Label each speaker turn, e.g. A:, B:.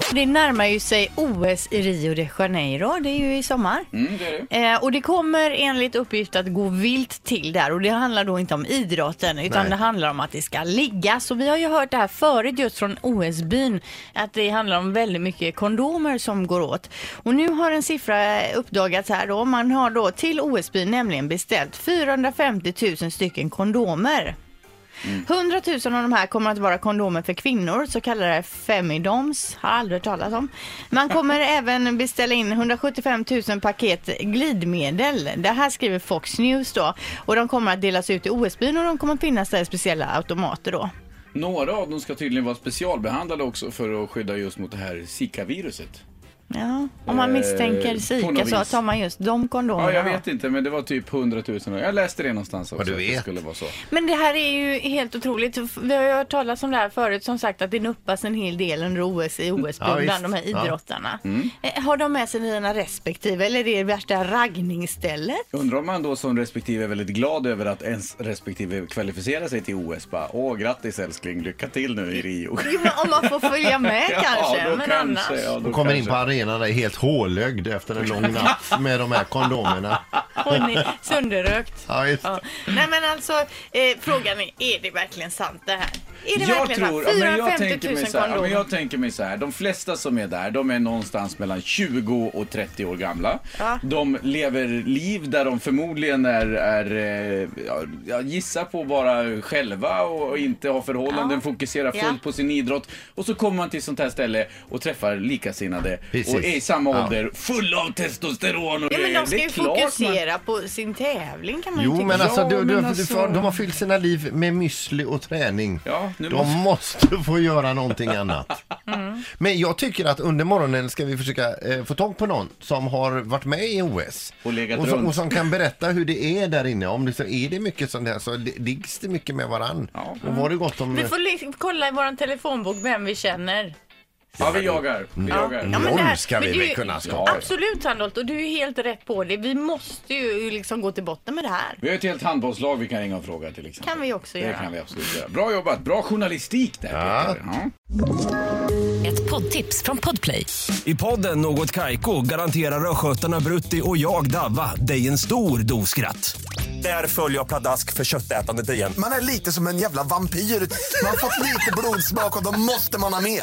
A: För det närmar ju sig OS i Rio de Janeiro. Det är ju i sommar.
B: Mm, det är det.
A: Eh, och det kommer enligt uppgift att gå vilt till där och det handlar då inte om idrotten utan
C: Nej.
A: det handlar om att det ska ligga. Så vi har ju hört det här förut just från OS-byn att det handlar om väldigt mycket kondomer som går åt. Och nu har en siffra uppdagats här då. Man har då till OS-byn nämligen beställt 450 000 stycken kondomer. 100 000 av de här kommer att vara kondomer för kvinnor, så kallade femidoms, har aldrig hört talas om. Man kommer även beställa in 175 000 paket glidmedel. Det här skriver Fox News då. Och de kommer att delas ut i OS-byn och de kommer att finnas där i speciella automater då.
B: Några av dem ska tydligen vara specialbehandlade också för att skydda just mot det här Zika-viruset.
A: Ja, om man
B: Eh,
A: misstänker
B: på
A: zika
B: något
A: så
B: vis.
A: tar man just de kondomerna.
B: Ja, jag
A: då.
B: vet inte, men det var typ 100 000. Jag läste det någonstans också.
C: du
B: att Det
C: vet.
B: skulle vara så.
A: Men det här är ju helt otroligt. Vi har ju hört talas om det här förut, som sagt att det nuppas en hel del under OS i OS
C: Ja, visst.
A: bland de här
C: Ja.
A: idrottarna.
B: Mm.
A: Eh, Har de med sig sina respektive eller är det värsta raggningsstället?
B: Jag Undrar om man då som respektive är väldigt glad över att ens respektive kvalificerar sig till OS. Bara, Åh, grattis älskling, lycka till nu i Rio.
A: Jo, men om man får följa med kanske,
B: ja, då
A: men
B: kanske,
A: annars.
B: Ja, då
C: Hon kommer in
B: kanske.
C: på arenan där helt hålögd efter en lång natt med de här kondomerna.
A: Hon är sönderrökt.
C: Ja, just.
A: Ja. Nej men alltså, eh, frågan är, är det verkligen sant det här? Är det
B: Jag
A: verkligen
B: tror,
A: sant?
B: ja, men jag
A: 450
B: tänker
A: 000
B: mig så här, ja, men
A: kondomer.
B: jag tänker mig så här, de flesta som är där, de är någonstans mellan 20 och 30 år gamla.
A: Ja.
B: De lever liv där de förmodligen är, är eh, ja, jag gissar på bara själva och inte har förhållanden,
A: Ja.
B: fokuserar fullt
A: Ja.
B: på sin idrott. Och så kommer man till sånt här ställe och träffar likasinnade
C: Precis.
B: och är i samma
C: Ja.
B: ålder, full av testosteron och
A: Ja, men
B: grejer.
A: de ska
B: Det är
A: ju
B: klart man-
A: fokusera på sin tävling kan man ju
C: Jo,
A: tycka.
C: men alltså,
B: Ja,
C: du, du,
B: men
C: du,
B: alltså-
C: de har fyllt sina liv med müsli och träning.
B: Ja, nu
C: de
B: måste- Mm.
C: måste få göra någonting annat. Men jag tycker att under morgonen ska vi försöka eh, få tag på någon som har varit med i OS.
B: Och legat
C: och, som,
B: runt.
C: och som kan berätta hur det är där inne. Om det, så är det mycket sånt här så li- liggs det mycket med varann.
B: Ja.
C: Och var det gott om...
A: Vi får li- kolla i vår telefonbok vem vi känner.
B: Ja, vi jagar. Vi jagar.
A: Ja, men
C: Någon
A: det här-
C: ska vi
A: men det är ju-
C: väl kunna skapa.
B: Ja.
A: Absolut Sandholt, och du är helt rätt på det. Vi måste ju liksom gå till botten med det här.
B: Vi har ett helt handbollslag vi kan ringa och fråga till exempel.
A: kan vi också
B: Det
A: göra.
B: kan vi absolut göra. Bra jobbat, bra journalistik där
C: Ja.
B: Peter. Ja.
D: Ett poddtips från Podplay.
E: I podden Något Kaiko garanterar östgötarna Brutti och jag, Davva, dig en stor dos skratt. Där följer jag pladask för köttätandet igen.
F: Man är lite som en jävla vampyr. Man har fått lite blodsmak och då måste man ha mer.